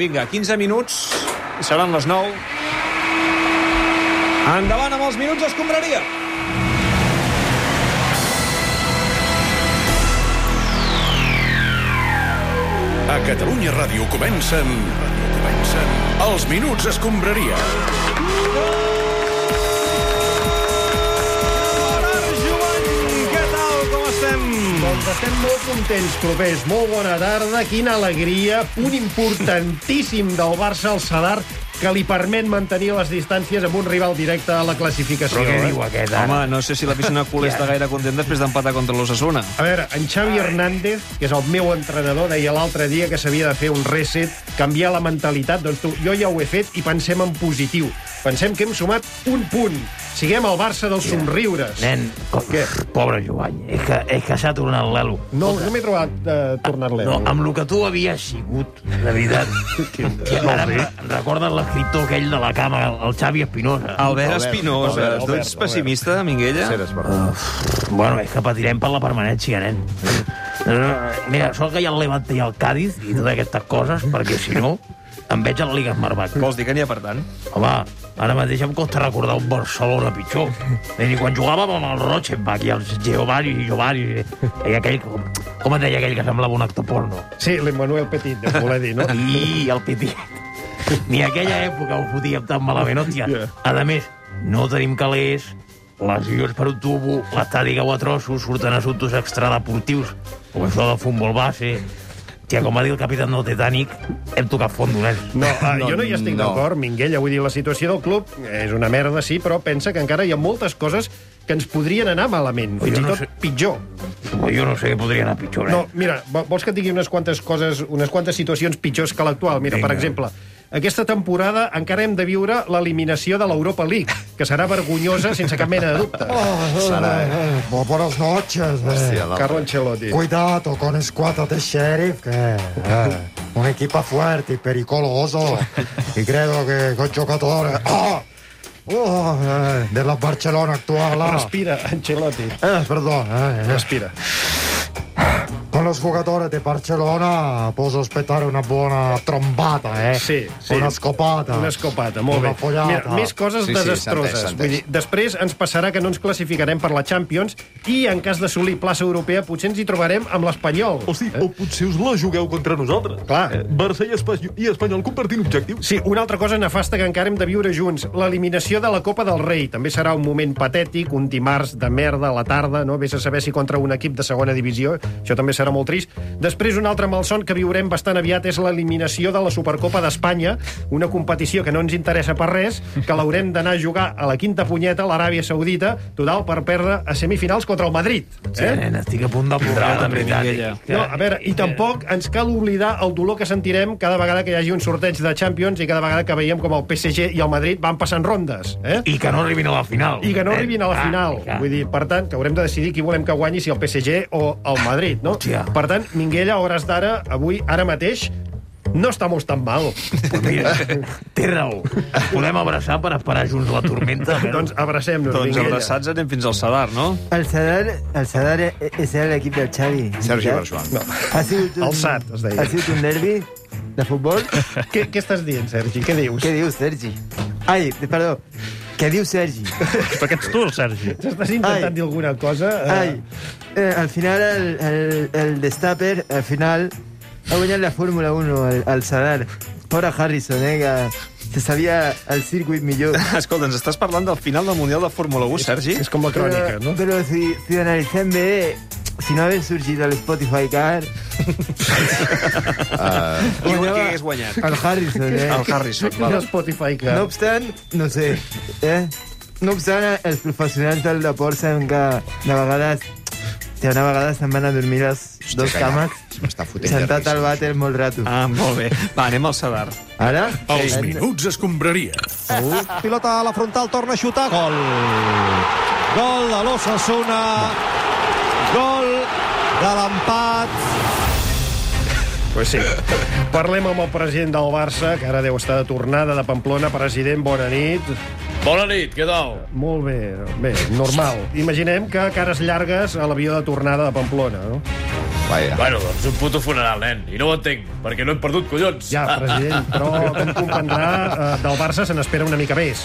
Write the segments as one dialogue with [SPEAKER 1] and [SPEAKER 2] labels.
[SPEAKER 1] Vinga, 15 minuts, i seran les 9. Endavant amb els minuts d'escombraria.
[SPEAKER 2] A Catalunya Ràdio comencen... comencen... Els Minuts Escombraria.
[SPEAKER 1] Joan, què tal, com estem?
[SPEAKER 3] Doncs estem molt contents, propers. Molt bona tarda, quina alegria. Punt importantíssim del Barça al Sadar que li permet mantenir les distàncies amb un rival directe a la classificació. eh?
[SPEAKER 4] aquest,
[SPEAKER 1] Home, no sé si l'aficionat culer està gaire content després d'empatar contra l'Ossassuna.
[SPEAKER 3] A veure, en Xavi Hernández, que és el meu entrenador, deia l'altre dia que s'havia de fer un reset, canviar la mentalitat. Doncs tu, jo ja ho he fet i pensem en positiu. Pensem que hem sumat un punt. Siguem el Barça dels somriures.
[SPEAKER 4] Nen, com...
[SPEAKER 3] Què?
[SPEAKER 4] pobre Joan, és que, és que s'ha tornat l'elo.
[SPEAKER 3] No, no m'he trobat eh, tornar-l'he.
[SPEAKER 4] No, amb el que tu havies sigut, de veritat. que, ara em, em recordes l'escriptor aquell de la cama, el Xavi Espinosa.
[SPEAKER 1] Albert Espinosa,
[SPEAKER 3] eh?
[SPEAKER 1] Doncs
[SPEAKER 3] Albert,
[SPEAKER 1] tu
[SPEAKER 3] Albert,
[SPEAKER 1] ets pessimista, Minguella?
[SPEAKER 4] Bueno, és que patirem per la permanència, nen. Eh, Mira, sort que hi ha el Levante i el Cádiz i totes aquestes coses, perquè si no em veig a la Liga Smartbank.
[SPEAKER 1] Vols dir que n'hi ha per tant?
[SPEAKER 4] Home, ara mateix em costa recordar un Barcelona pitjor. Vull dir, quan jugàvem amb el Rochenbach i els Giovanni i Giovanni i aquell... Com, com et deia aquell que semblava un actor porno?
[SPEAKER 3] Sí, l'Emmanuel Petit, de voler dir, no?
[SPEAKER 4] I el Pitit. Ni aquella època ho fotíem tan malament, hòstia.
[SPEAKER 3] Ja.
[SPEAKER 4] A més, no tenim calés, lesions per un tubo, l'estadi cau a trossos, surten assumptes extradeportius, com això de futbol base... Hòstia, com va dir el capità del Titanic, hem tocat fondo, nen.
[SPEAKER 3] No, ah, no, jo no hi estic no. d'acord, Minguella. Vull dir, la situació del club és una merda, sí, però pensa que encara hi ha moltes coses que ens podrien anar malament,
[SPEAKER 4] Oi,
[SPEAKER 3] fins
[SPEAKER 4] jo
[SPEAKER 3] i
[SPEAKER 4] no
[SPEAKER 3] tot
[SPEAKER 4] sé.
[SPEAKER 3] pitjor.
[SPEAKER 4] Jo no sé què podria anar pitjor, eh? nen.
[SPEAKER 3] No, mira, vo- vols que et digui unes quantes coses, unes quantes situacions pitjors que l'actual? Mira, Vinga. per exemple, aquesta temporada encara hem de viure l'eliminació de l'Europa League, que serà vergonyosa sense cap mena de dubte. Oh,
[SPEAKER 5] Eh, bo- buenas noches. eh.
[SPEAKER 3] Carlo Ancelotti.
[SPEAKER 5] Cuidado con Squadra de Sheriff, que eh, un equipo fuerte y pericoloso. Y creo que con giocatore oh, oh, eh, della Barcelona actual. ah.
[SPEAKER 3] Respira, Ancelotti.
[SPEAKER 5] Eh, perdón. eh, eh.
[SPEAKER 3] Respira.
[SPEAKER 5] Con los jugadores de Barcelona puedo aspettare una buena trombata, eh?
[SPEAKER 3] Sí, sí.
[SPEAKER 5] Una scopata.
[SPEAKER 3] Una escopata, molt
[SPEAKER 5] una
[SPEAKER 3] bé.
[SPEAKER 5] Follata.
[SPEAKER 3] Mira, més coses sí,
[SPEAKER 6] Sí, sí,
[SPEAKER 3] desastroses.
[SPEAKER 6] s'entès, s'entès.
[SPEAKER 3] Vull dir, després ens passarà que no ens classificarem per la Champions i, en cas d'assolir plaça europea, potser ens hi trobarem amb l'Espanyol.
[SPEAKER 7] O sigui, o potser us la jugueu contra nosaltres.
[SPEAKER 3] Clar.
[SPEAKER 7] Eh, Barça i, Espa i Espanyol compartint objectius.
[SPEAKER 3] Sí, una altra cosa nefasta que encara hem de viure junts, l'eliminació de la Copa del Rei. També serà un moment patètic, un dimarts de merda a la tarda, no? Vés a saber si contra un equip de segona divisió, això també serà molt trist. Després, un altre malson que viurem bastant aviat és l'eliminació de la Supercopa d'Espanya, una competició que no ens interessa per res, que l'haurem d'anar a jugar a la quinta punyeta, a l'Aràbia Saudita, total, per perdre a semifinals contra el Madrid. eh?
[SPEAKER 4] Sí, nen, estic Eh, a punt de plorar, de veritat.
[SPEAKER 1] Minguella.
[SPEAKER 3] No, a veure, i tampoc ens cal oblidar el dolor que sentirem cada vegada que hi hagi un sorteig de Champions i cada vegada que veiem com el PSG i el Madrid van passant rondes, eh?
[SPEAKER 4] I que no arribin a la final.
[SPEAKER 3] I que no arribin a la
[SPEAKER 4] Ah,
[SPEAKER 3] final.
[SPEAKER 4] clar.
[SPEAKER 3] Vull dir, per tant, que haurem de decidir qui volem que guanyi, si el PSG o el Madrid, no?
[SPEAKER 4] Hòstia.
[SPEAKER 3] Per tant, Minguella, a hores d'ara, avui, ara mateix, no estamos tan mal.
[SPEAKER 4] Pues mira, té raó. Podem abraçar per esperar junts la tormenta. però-
[SPEAKER 3] doncs abracem-nos,
[SPEAKER 1] Doncs
[SPEAKER 3] Minguella.
[SPEAKER 1] abraçats anem fins al Sadar, no?
[SPEAKER 8] El Sadar, el Sadar és l'equip del Xavi.
[SPEAKER 6] Sergi
[SPEAKER 8] veritat?
[SPEAKER 6] Barjuan. No.
[SPEAKER 8] Ha sigut un,
[SPEAKER 3] El Sad, es deia.
[SPEAKER 8] Ha sigut un derbi de futbol.
[SPEAKER 3] Què, què estàs dient, Sergi? Què dius?
[SPEAKER 8] Què dius, Sergi? Ai, perdó. Què diu Sergi?
[SPEAKER 4] Perquè ets tu, el Sergi.
[SPEAKER 3] Estàs intentant
[SPEAKER 8] Ai.
[SPEAKER 3] dir alguna cosa?
[SPEAKER 8] Ai, eh, al final el, el, el Destaper, al final ha guanyat la Fórmula 1 al, al Sadar. Pobre Harrison, eh, que se sabia el circuit millor.
[SPEAKER 1] Escolta, ens estàs parlant del final del Mundial de Fórmula 1, Sergi?
[SPEAKER 3] És com la crònica, no?
[SPEAKER 8] Pero si, si analizem bé, si no hagués sorgit el Spotify Car...
[SPEAKER 3] Eh,
[SPEAKER 1] I ho Eh, que Ah. hagués guanyat.
[SPEAKER 8] El Harrison, eh?
[SPEAKER 1] El Harrison,
[SPEAKER 3] No
[SPEAKER 1] val.
[SPEAKER 3] Spotify que...
[SPEAKER 8] No obstant, no sé, eh? No obstant, els professionals del deport saben que de vegades... Hòstia, una vegada se'n van a dormir les dos cames
[SPEAKER 6] M'està fotent de
[SPEAKER 8] sentat
[SPEAKER 6] risc.
[SPEAKER 8] al vàter molt rato.
[SPEAKER 1] Ah, molt bé. Va, anem al Sadar.
[SPEAKER 8] Ara?
[SPEAKER 2] Els Minuts Escombraria.
[SPEAKER 9] Uh. Pilota a la frontal, torna a xutar. Gol. Gol de l'Ossassuna. Gol de l'empat.
[SPEAKER 3] Pues sí. Parlem amb el president del Barça, que ara deu estar de tornada de Pamplona. President, bona nit.
[SPEAKER 10] Bona nit, què tal?
[SPEAKER 3] Molt bé, bé, normal. Imaginem que cares llargues a l'avió de tornada de Pamplona, no?
[SPEAKER 11] Vaja.
[SPEAKER 10] Bueno, doncs un puto funeral, nen. I no ho entenc, perquè no hem perdut, collons.
[SPEAKER 3] Ja, president, però com comprendrà, eh, del Barça se n'espera una mica més.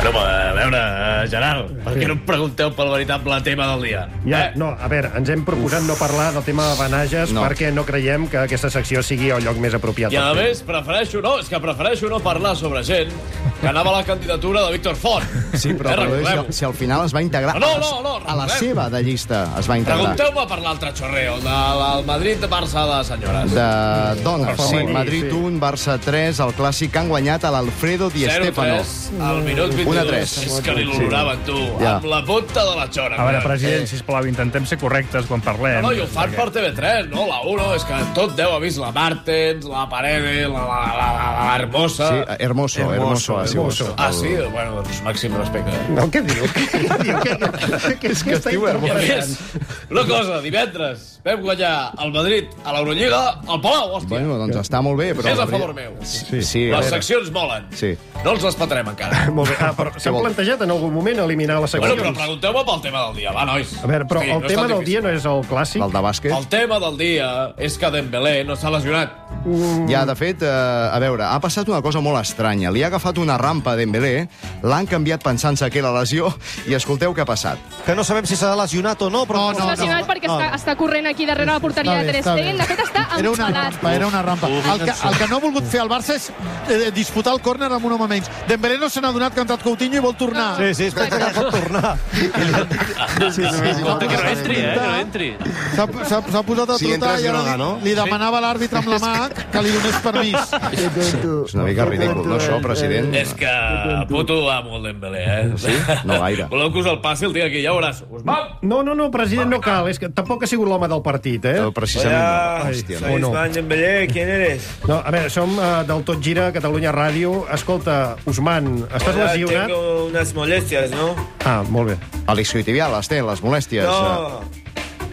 [SPEAKER 10] Bueno, home, a veure, eh, Gerard, per què no em pregunteu pel veritable tema del dia?
[SPEAKER 3] Ja,
[SPEAKER 10] Eh?
[SPEAKER 3] no, a veure, ens hem proposat no parlar del tema de Benages
[SPEAKER 1] No.
[SPEAKER 3] no. perquè no creiem que aquesta secció sigui el lloc més apropiat.
[SPEAKER 10] I a
[SPEAKER 3] per fer-ho.
[SPEAKER 10] més, prefereixo no, és que prefereixo no parlar sobre gent que anava a la candidatura de Víctor Font. Eh,
[SPEAKER 12] Sí, però, però
[SPEAKER 10] recordem-ho.
[SPEAKER 12] si, si al final es va integrar
[SPEAKER 10] No, no,
[SPEAKER 12] a la-
[SPEAKER 10] no, no,
[SPEAKER 12] a la
[SPEAKER 10] recordem.
[SPEAKER 12] seva de llista, es va integrar.
[SPEAKER 10] Pregunteu-me per l'altre xorreo, de- del Madrid de Barça de senyores.
[SPEAKER 12] De dones, sí,
[SPEAKER 3] femení,
[SPEAKER 12] Madrid
[SPEAKER 3] sí.
[SPEAKER 12] 1, Barça 3, el clàssic que han guanyat a l'Alfredo Di Stéfano.
[SPEAKER 10] 0-3, al minut 22.
[SPEAKER 12] 1-3.
[SPEAKER 10] És que li l'oloraven, tu,
[SPEAKER 12] Ja.
[SPEAKER 10] amb la punta de la xora.
[SPEAKER 13] A veure,
[SPEAKER 10] nen.
[SPEAKER 13] president, sisplau, intentem ser correctes quan parlem.
[SPEAKER 10] No, no, i ho fan per TV3, no? La 1, és que tot deu ha vist la Martens, la Paredes, la, la, la, la, la Ah, Hermosa...
[SPEAKER 12] Sí, hermoso, hermoso. hermoso, ha sigut
[SPEAKER 3] hermoso.
[SPEAKER 10] Ah, sí? Bueno, doncs màxim respecte.
[SPEAKER 3] No, què diu? Què diu? Què, què, què, què està
[SPEAKER 10] I a
[SPEAKER 3] interpretant?
[SPEAKER 10] més, una cosa, divendres vam guanyar el Madrid a l'Eurolliga al Palau, hòstia.
[SPEAKER 12] Bueno, doncs està molt bé, però...
[SPEAKER 10] És a favor meu.
[SPEAKER 12] Sí, sí a veure.
[SPEAKER 10] Les seccions molen.
[SPEAKER 12] Sí.
[SPEAKER 10] No els les patrem encara.
[SPEAKER 3] Molt bé. Ah, però s'ha
[SPEAKER 12] vol?
[SPEAKER 3] plantejat en algun moment eliminar la secció.
[SPEAKER 10] Bueno, però pregunteu-me pel tema del dia, va, nois.
[SPEAKER 3] A veure, però
[SPEAKER 10] Hosti,
[SPEAKER 3] el
[SPEAKER 10] no és
[SPEAKER 3] tema
[SPEAKER 10] tan
[SPEAKER 3] del
[SPEAKER 10] difícil.
[SPEAKER 3] dia no és el clàssic?
[SPEAKER 12] El de bàsquet.
[SPEAKER 10] El tema del dia és que Dembélé no s'ha lesionat.
[SPEAKER 14] Mm.
[SPEAKER 12] Ja, de fet, eh, a veure, ha passat una cosa molt estranya. Li ha agafat una rampa a Dembélé, l'han canviat pensant-se que era lesió, i escolteu què ha passat.
[SPEAKER 11] Que no sabem si s'ha lesionat o no, però...
[SPEAKER 14] no, lesionat perquè està, està corrent aquí darrere la porteria
[SPEAKER 11] Està bé,
[SPEAKER 14] de Ter
[SPEAKER 11] està bé.
[SPEAKER 14] Stegen. De fet, està
[SPEAKER 11] Era una
[SPEAKER 14] enfadat.
[SPEAKER 11] rampa, era una rampa. El que, el que no ha volgut fer el Barça és eh, disputar el córner amb un home menys. Dembélé no se n'ha donat que ha entrat Coutinho i vol tornar.
[SPEAKER 14] Sí, sí, espera que
[SPEAKER 11] pot tornar.
[SPEAKER 12] Que no
[SPEAKER 11] entri, eh, que no
[SPEAKER 10] entri.
[SPEAKER 11] S'ha s'ha- s'ha posat a
[SPEAKER 12] Si
[SPEAKER 11] trotar
[SPEAKER 12] entres,
[SPEAKER 11] i ara
[SPEAKER 12] droga,
[SPEAKER 11] li,
[SPEAKER 12] no?
[SPEAKER 11] li demanava a l'àrbitre amb la mà que li donés permís.
[SPEAKER 12] És una mica ridícul, no, això, president?
[SPEAKER 10] És que puto amo el Dembélé, eh? Sí?
[SPEAKER 12] No gaire.
[SPEAKER 10] Voleu que us el passi el dia aquí, ja veuràs. Us va!
[SPEAKER 3] No, no, no, president, no cal. És que tampoc ha sigut l'home del partit, eh?
[SPEAKER 12] No, precisament no. Hòstia, no.
[SPEAKER 3] O no.
[SPEAKER 4] Dembélé, eh, ¿quién eres?
[SPEAKER 3] No, a veure, som uh, del Tot Gira, Catalunya Ràdio. Escolta, Usman, estàs lesionat?
[SPEAKER 4] Tengo unas molestias, ¿no?
[SPEAKER 3] Ah, molt bé.
[SPEAKER 12] Elisio Tibial, les té, les molèsties. eh?
[SPEAKER 4] No,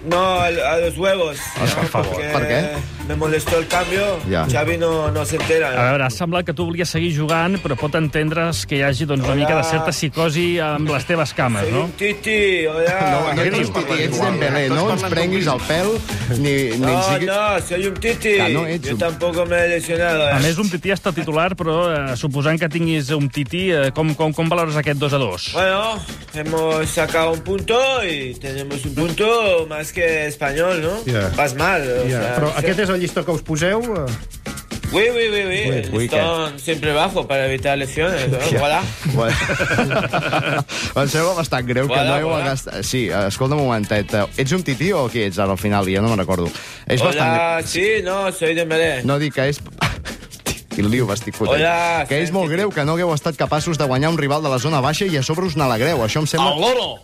[SPEAKER 4] no, a, a los huevos.
[SPEAKER 12] por favor.
[SPEAKER 4] Porque
[SPEAKER 12] ¿Por qué?
[SPEAKER 4] Me molestó el cambio.
[SPEAKER 12] Ya.
[SPEAKER 4] Xavi no, no se
[SPEAKER 13] A
[SPEAKER 4] entera.
[SPEAKER 13] veure, sembla que tu volies seguir jugant, però pot entendre's que hi hagi doncs, una
[SPEAKER 4] Hola.
[SPEAKER 13] mica de certa psicosi amb les teves cames, no?
[SPEAKER 4] Un Titi, hola.
[SPEAKER 12] No ets piti, ets Dembélé, no ens prenguis el pèl ni, ni ens
[SPEAKER 4] No,
[SPEAKER 12] diguis...
[SPEAKER 4] no, soy un Titi.
[SPEAKER 12] Ah, no, Ah, ets
[SPEAKER 4] Yo
[SPEAKER 12] un-
[SPEAKER 4] tampoco me he lesionado.
[SPEAKER 13] A
[SPEAKER 4] eh.
[SPEAKER 13] més, un tití està titular, però eh, suposant que tinguis un tití, eh, com, com, com valores aquest 2 a 2?
[SPEAKER 4] Bueno, hemos sacado un punto y tenemos un punto más que español, ¿no?
[SPEAKER 3] Ya.
[SPEAKER 4] Vas mal. o
[SPEAKER 3] Ja,
[SPEAKER 4] sea,
[SPEAKER 3] però
[SPEAKER 4] no sé.
[SPEAKER 3] aquest és el llistó que us poseu?
[SPEAKER 4] Oui, oui, oui, oui. El
[SPEAKER 12] uy, ¿qué?
[SPEAKER 4] listón siempre bajo para evitar lesiones. ¿no? Voilà.
[SPEAKER 12] Bueno. Eh, em sembla bastant greu que
[SPEAKER 4] Voilà,
[SPEAKER 12] no heu
[SPEAKER 4] voilà.
[SPEAKER 12] gastat... Sí, escolta un momentet. Ets un tití o qui ets ara al final? Ja no me'n recordo. És
[SPEAKER 4] Hola,
[SPEAKER 12] bastant...
[SPEAKER 4] sí, no, soy de Melé.
[SPEAKER 12] No dic que és... Quin lío m'estic fotent.
[SPEAKER 4] Hola,
[SPEAKER 12] que és molt greu que no hagueu estat capaços de guanyar un rival de la zona baixa i a sobre us n'alegreu. Això em sembla...
[SPEAKER 10] Al loro!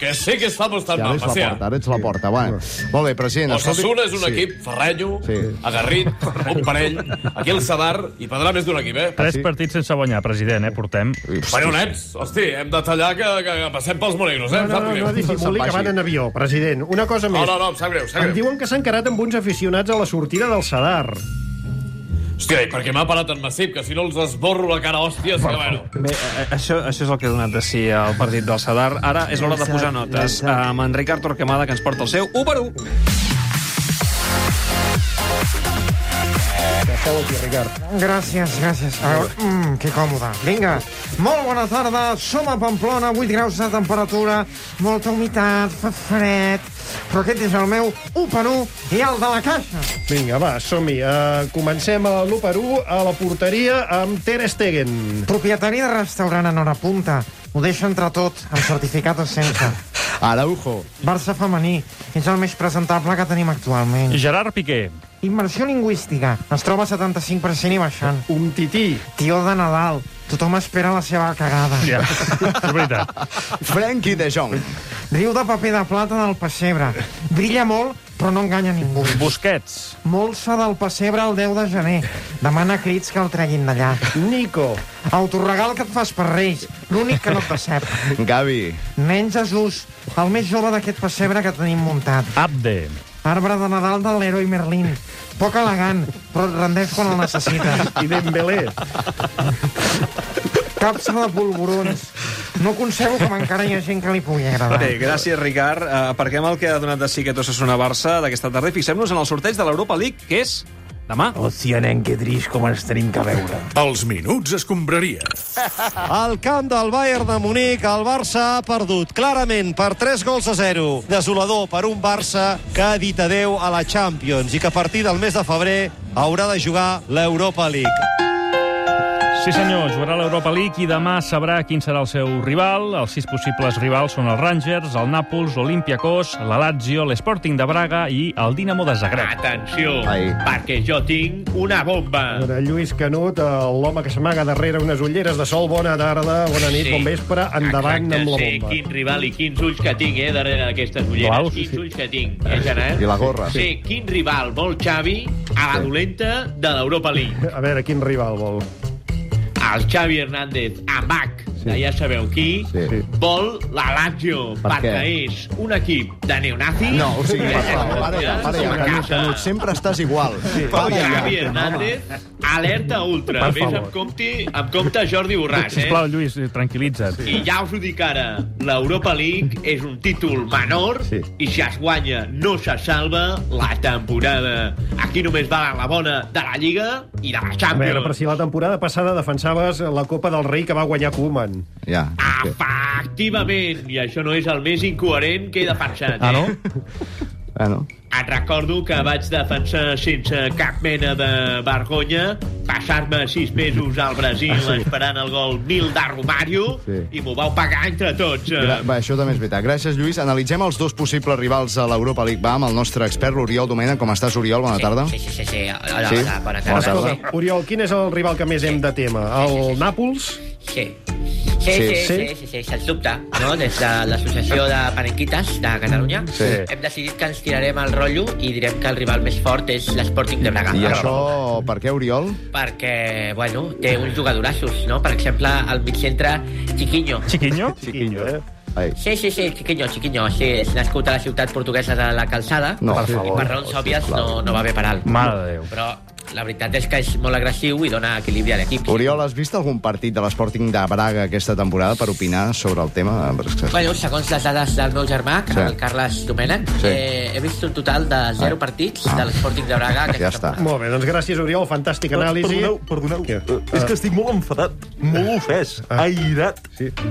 [SPEAKER 10] Que sí que estamos tan
[SPEAKER 12] Ja
[SPEAKER 10] mal,
[SPEAKER 12] ets la
[SPEAKER 10] Macià.
[SPEAKER 12] porta, ara ets la porta. Va. Molt bé, president. escolti-
[SPEAKER 10] Osasuna és un
[SPEAKER 12] Sí.
[SPEAKER 10] equip ferrenyo,
[SPEAKER 12] Sí.
[SPEAKER 10] agarrit, un parell, aquí el Sadar, i prendrà més d'un equip, eh?
[SPEAKER 12] Ah,
[SPEAKER 13] Tres partits sense guanyar, president, eh, portem.
[SPEAKER 10] Bueno, nens, hosti, hem de tallar que, que, que passem pels monegros, eh?
[SPEAKER 3] No,
[SPEAKER 10] Em
[SPEAKER 3] no,
[SPEAKER 10] sap
[SPEAKER 3] no, no
[SPEAKER 10] greu.
[SPEAKER 3] dissimuli que van en avió, president. Una cosa
[SPEAKER 10] No,
[SPEAKER 3] més.
[SPEAKER 10] no, no, em sap greu, em sap
[SPEAKER 3] Em
[SPEAKER 10] greu.
[SPEAKER 3] diuen que s'han quedat amb uns aficionats a la sortida del Sadar.
[SPEAKER 10] Hòstia, i per què m'ha parat en Massip, que si no els esborro la cara, hòstia, és que, bueno...
[SPEAKER 1] Bé, eh, això, això és el que ha donat de si al partit del Sadar. Ara és l'hora de posar notes eh, amb en Ricard Torquemada, que ens porta el seu 1 per 1.
[SPEAKER 15] Gràcies, gràcies. A veure, mm, que còmode. Vinga, molt bona tarda. Som a Pamplona, 8 graus de temperatura, molta humitat, fa fred... Però aquest és el meu 1 per 1 i el de la caixa.
[SPEAKER 3] Vinga, va, som-hi. Uh, comencem a l'1 per 1 a la porteria amb Ter Stegen.
[SPEAKER 15] Propietari de restaurant en hora punta. Ho deixa entre tot, amb certificat o sense.
[SPEAKER 12] Araujo.
[SPEAKER 15] Barça femení és el més presentable que tenim actualment.
[SPEAKER 13] Gerard Piqué,
[SPEAKER 15] Immersió lingüística. Es troba al 75% i baixant.
[SPEAKER 3] Un tití.
[SPEAKER 15] Tió de Nadal. Tothom espera la seva cagada.
[SPEAKER 13] ja, és veritat.
[SPEAKER 12] Frenkie de Jong.
[SPEAKER 15] Riu de paper de plata del pessebre. Brilla molt, però no enganya ningú.
[SPEAKER 13] Busquets,
[SPEAKER 15] Molsa del pessebre el 10 de gener. Demana a crits que el treguin d'allà.
[SPEAKER 3] Nico.
[SPEAKER 15] Autoregal que et fas per Reis. L'únic que no et decep.
[SPEAKER 12] Gavi.
[SPEAKER 15] Nen Jesús, el més jove d'aquest pessebre que tenim muntat.
[SPEAKER 13] Abde,
[SPEAKER 15] Arbre de Nadal de l'Heroi Merlin. Poc elegant, però et rendeix quan el necessites.
[SPEAKER 3] I Dembélé.
[SPEAKER 15] Capsa de polvorons. No concebo com encara hi ha gent que li pugui agradar.
[SPEAKER 1] Bé, gràcies, Ricard. Uh, aparquem el que ha donat de sí que Osasuna Barça d'aquesta tarda i fixem-nos en el sorteig de l'Europa League, que és demà.
[SPEAKER 4] Hòstia, nen, que trist com ens tenim que veure.
[SPEAKER 2] Els minuts escombraria.
[SPEAKER 9] Al camp del Bayern de Munic, el Barça ha perdut clarament per 3 gols a 0. Desolador per un Barça que ha dit adeu a la Champions i que a partir del mes de febrer haurà de jugar l'Europa League.
[SPEAKER 13] Sí senyor, jugarà l'Europa League i demà sabrà quin serà el seu rival. Els sis possibles rivals són els Rangers, el Nàpols, l'Olympiacos, la Lazio, l'Sporting de Braga i el Dinamo de Zagreb.
[SPEAKER 16] Atenció, Ai. perquè jo tinc una bomba.
[SPEAKER 3] De Lluís Canut, eh, l'home que s'amaga darrere unes ulleres de sol. Bona tarda, bona
[SPEAKER 16] Sí.
[SPEAKER 3] nit, sí. bon vespre, endavant amb la
[SPEAKER 16] sí,
[SPEAKER 3] bomba.
[SPEAKER 16] quin rival i quins ulls que tinc, eh, darrere d'aquestes ulleres.
[SPEAKER 3] Blaus,
[SPEAKER 16] quins
[SPEAKER 3] sí.
[SPEAKER 16] ulls que tinc, eh, Gerard?
[SPEAKER 3] I la gorra.
[SPEAKER 16] Sí, quin rival vol Xavi a la dolenta de l'Europa League.
[SPEAKER 3] A veure, quin rival vol?
[SPEAKER 16] Ah, El Xavi Hernández, amac, sí. ja sabeu qui,
[SPEAKER 3] Sí.
[SPEAKER 16] vol la Lazio,
[SPEAKER 12] Per
[SPEAKER 16] perquè
[SPEAKER 12] què?
[SPEAKER 16] és un equip de neonazis...
[SPEAKER 12] No, o sigui,
[SPEAKER 16] Eh,
[SPEAKER 12] per favor, para ja, para ja,
[SPEAKER 16] una
[SPEAKER 12] Canut,
[SPEAKER 16] casa.
[SPEAKER 12] Canut, sempre estàs igual. Sí.
[SPEAKER 16] Pau Xavi Hernández, alerta ultra.
[SPEAKER 13] Per
[SPEAKER 16] Vés
[SPEAKER 13] favor.
[SPEAKER 16] amb compte, amb compte Jordi Borràs, eh?
[SPEAKER 13] Sisplau, Lluís, tranquil·litza't.
[SPEAKER 16] I ja us ho dic ara, l'Europa League és un títol menor sí. i si es guanya no se salva la temporada. Aquí només valen la bona de la Lliga i de la
[SPEAKER 3] A veure,
[SPEAKER 16] Champions.
[SPEAKER 3] però si la temporada passada defensaves la Copa del Rei que va guanyar Koeman.
[SPEAKER 12] Ja.
[SPEAKER 16] Ah, Activament, i això no és el més incoherent que he defensat. Ah, no?
[SPEAKER 12] Ah, no?
[SPEAKER 16] Et recordo que vaig defensar sense cap mena de vergonya passar-me sis mesos al Brasil
[SPEAKER 12] Ah, sí.
[SPEAKER 16] esperant el gol mil de Romario
[SPEAKER 12] Sí.
[SPEAKER 16] i m'ho vau pagar entre tots. eh.
[SPEAKER 12] Gra- Va, això també és veritat. Gràcies, Lluís. Analitzem els dos possibles rivals a l'Europa League. Va, amb el nostre expert, l'Oriol Domena. Com estàs, Oriol? Bona tarda.
[SPEAKER 17] Sí, sí, sí. sí. Hola,
[SPEAKER 12] Sí?
[SPEAKER 17] hola, bona
[SPEAKER 12] Bona
[SPEAKER 17] tarda.
[SPEAKER 12] tarda.
[SPEAKER 17] Sí.
[SPEAKER 3] Oriol, quin és el rival que més hem de tema? El Nàpols?
[SPEAKER 17] Sí. Sí, sí, sí, sí, sí, sí, sens dubte, no? Des de l'Associació de Panenquites de Catalunya
[SPEAKER 12] Sí.
[SPEAKER 17] hem decidit que ens tirarem el rotllo i direm que el rival més fort és l'Sporting de Braga.
[SPEAKER 12] I això, per què, Oriol?
[SPEAKER 17] Perquè, bueno, té uns jugadorassos, no? Per exemple, al mig centre, Chiquinho.
[SPEAKER 13] Chiquinho?
[SPEAKER 12] Chiquinho, eh? Ai.
[SPEAKER 17] Sí, sí, sí, Chiquinho, Chiquinho. Sí, és nascut a la ciutat portuguesa de la Calçada.
[SPEAKER 12] No, per
[SPEAKER 17] i
[SPEAKER 12] favor.
[SPEAKER 17] per raons òbvies no, no va bé parar.
[SPEAKER 12] Mare de Déu.
[SPEAKER 17] Però la veritat és que és molt agressiu i dona equilibri a l'equip.
[SPEAKER 12] Oriol, has vist algun partit de l'Sporting de Braga aquesta temporada per opinar sobre el tema? Perquè és que-
[SPEAKER 17] Bueno, segons les dades del meu germà,
[SPEAKER 12] Sí.
[SPEAKER 17] sí. el Carles Domènech,
[SPEAKER 12] Sí.
[SPEAKER 17] sí. eh, he vist un total de 0
[SPEAKER 12] Ah.
[SPEAKER 17] partits de l'Sporting de Braga. Que...
[SPEAKER 12] Ja està.
[SPEAKER 3] Molt bé, doncs gràcies, Oriol. Fantàstica anàlisi.
[SPEAKER 18] Doncs Perdoneu, perdoneu. Eh, és que estic molt enfadat, molt ofès, airat,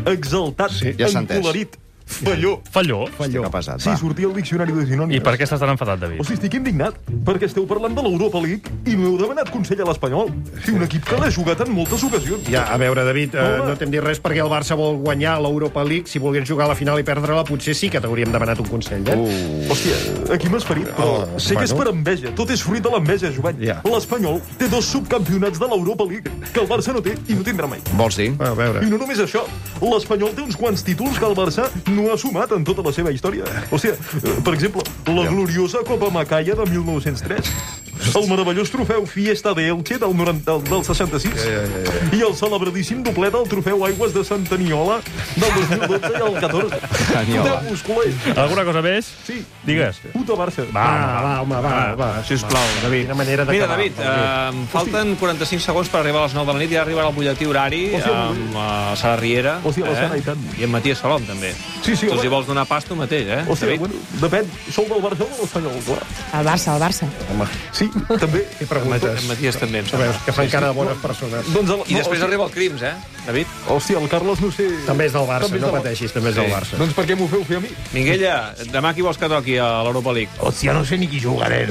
[SPEAKER 18] exaltat, sí.
[SPEAKER 13] Ja s'ha entès.
[SPEAKER 18] encolorit, falló.
[SPEAKER 13] Falló.
[SPEAKER 12] Falló. Que ha passat,
[SPEAKER 18] Sí,
[SPEAKER 13] va.
[SPEAKER 18] sortia el diccionari de sinònims.
[SPEAKER 13] I per què estàs tan enfadat,
[SPEAKER 18] O
[SPEAKER 13] David?
[SPEAKER 18] sigui, estic indignat, perquè esteu parlant de l'Europa League i no heu demanat consell a l'Espanyol. Té un equip que l'ha jugat en moltes ocasions.
[SPEAKER 3] Ja, a veure, David, eh,
[SPEAKER 18] Home.
[SPEAKER 3] no t'hem dit res perquè el Barça vol guanyar l'Europa League. Si volgués jugar a la final i perdre-la, potser sí que t'hauríem demanat un consell, eh?
[SPEAKER 18] Uh. Hòstia, aquí m'has ferit, però
[SPEAKER 3] Oh,
[SPEAKER 18] sé que és
[SPEAKER 3] bueno.
[SPEAKER 18] per enveja. Tot és fruit de l'enveja, Jovany.
[SPEAKER 3] Ja.
[SPEAKER 18] L'Espanyol té dos subcampionats de l'Europa League que el Barça no té i no tindrà mai.
[SPEAKER 12] Vols dir?
[SPEAKER 3] A veure.
[SPEAKER 18] I no només això, l'Espanyol té uns quants títols que el Barça no ha sumat en tota la seva història. O sigui, eh, per exemple, la gloriosa Copa Macaia de 1903, el meravellós trofeu Fiesta de Elche del, 90, del, del 66 i el celebradíssim doblet del trofeu Aigües de Santaniola del 2012 i el 14.
[SPEAKER 13] Santaniola.
[SPEAKER 18] Foteu-vos, culers.
[SPEAKER 13] Alguna cosa més?
[SPEAKER 18] eh? Sí.
[SPEAKER 13] Digues.
[SPEAKER 18] Puta Barça.
[SPEAKER 3] Va, va, home, va, va.
[SPEAKER 1] Ah, Sisplau, David.
[SPEAKER 3] Quina manera
[SPEAKER 1] Mira,
[SPEAKER 3] d'acabar,
[SPEAKER 1] David,
[SPEAKER 3] David.
[SPEAKER 1] eh, em falten 45 segons per arribar a les 9 de la nit i ara arribarà el butlletí horari
[SPEAKER 18] Hòstia,
[SPEAKER 1] amb eh, Sara Riera
[SPEAKER 18] Hòstia,
[SPEAKER 16] eh?
[SPEAKER 18] la Sara, i tant.
[SPEAKER 1] i amb Matías Salom, també.
[SPEAKER 18] Sí, sí,
[SPEAKER 1] tu els
[SPEAKER 18] home.
[SPEAKER 1] hi vols donar pasta tu mateix, eh,
[SPEAKER 18] Hòstia,
[SPEAKER 1] David?
[SPEAKER 18] bueno, depèn. Sou del Barça o de l'Espanyol, clar.
[SPEAKER 19] El Barça, el Barça.
[SPEAKER 18] Home. Sí, també. Què
[SPEAKER 1] preguntes? En Matías també, em sembla.
[SPEAKER 3] Veus que fan cara de bones persones.
[SPEAKER 18] Doncs el-
[SPEAKER 1] I
[SPEAKER 18] no,
[SPEAKER 1] després
[SPEAKER 18] hòstia.
[SPEAKER 1] arriba el Crims, eh, David?
[SPEAKER 18] Hòstia, el Carles no sé...
[SPEAKER 3] També és del Barça,
[SPEAKER 18] També és
[SPEAKER 3] no
[SPEAKER 18] del-
[SPEAKER 3] pateixis, també és del Barça.
[SPEAKER 18] Doncs per què m'ho feu fer a mi?
[SPEAKER 1] Minguella, demà qui vols que toqui a l'Europa League?
[SPEAKER 4] Hòstia, no sé ni qui jugarà.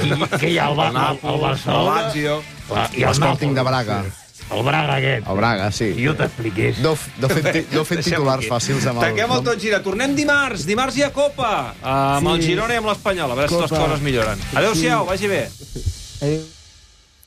[SPEAKER 4] Qui, què hi ha? El, Bar- el, el Barcelona?
[SPEAKER 1] El Lazio.
[SPEAKER 4] La, I el
[SPEAKER 12] L'Sporting
[SPEAKER 4] Nàpols.
[SPEAKER 12] de Braga.
[SPEAKER 4] El Braga aquest.
[SPEAKER 12] El Braga, sí.
[SPEAKER 4] Jo t'expliqués.
[SPEAKER 12] No, f- no fet, ti- no fet titulars fàcils amb el...
[SPEAKER 1] Tanquem el tot gira. Tornem dimarts. Dimarts hi ha Copa. Amb el
[SPEAKER 12] Sí.
[SPEAKER 1] Girona i amb l'Espanyol. A veure si les
[SPEAKER 12] Copa.
[SPEAKER 1] coses milloren. Adéu-siau, vagi bé.
[SPEAKER 20] Adéu.